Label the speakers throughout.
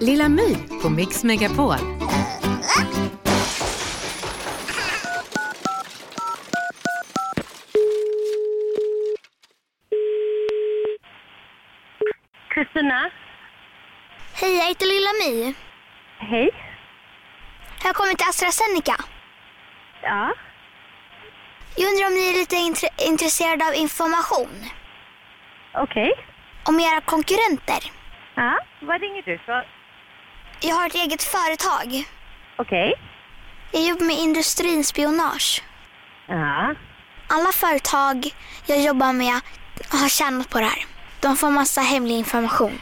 Speaker 1: Lilla My på Mix Megapol.
Speaker 2: Kristina?
Speaker 3: Hej, jag heter Lilla My.
Speaker 2: Hej.
Speaker 3: Jag har kommit till AstraZeneca.
Speaker 2: Ja.
Speaker 3: Jag undrar om ni är lite intre- intresserade av information
Speaker 2: Okej.
Speaker 3: om era konkurrenter.
Speaker 2: Ja. Vad ringer du för?
Speaker 3: Jag har ett eget företag.
Speaker 2: Okej.
Speaker 3: Jag jobbar med industrispionage.
Speaker 2: Ja.
Speaker 3: Alla företag jag jobbar med har tjänat på det här. De får massa hemlig information.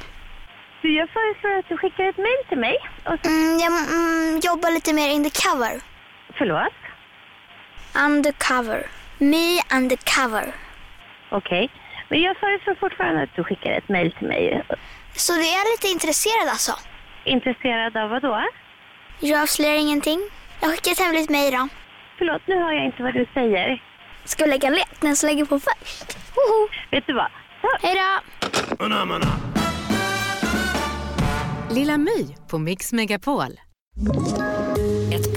Speaker 2: Du, jag föreslår att du skickar ett mejl till mig. Och,
Speaker 3: Mm, jag mm, jobbar lite mer undercover.
Speaker 2: förlåt?
Speaker 3: Undercover. Me undercover.
Speaker 2: Okej. Men jag föreslår fortfarande att du skickar ett mejl till mig.
Speaker 3: Så du är lite intresserad alltså?
Speaker 2: Intresserad av vad då?
Speaker 3: Jag avslöjar ingenting. Jag skickar ett hemligt mejl då.
Speaker 2: Förlåt, nu hör jag inte vad du säger.
Speaker 3: Ska vi lägga lek? Den som lägger på först. Hoho.
Speaker 2: Vet du vad? Ta-
Speaker 3: Hej då!
Speaker 1: Lilla My på Mix Megapol.
Speaker 4: Ett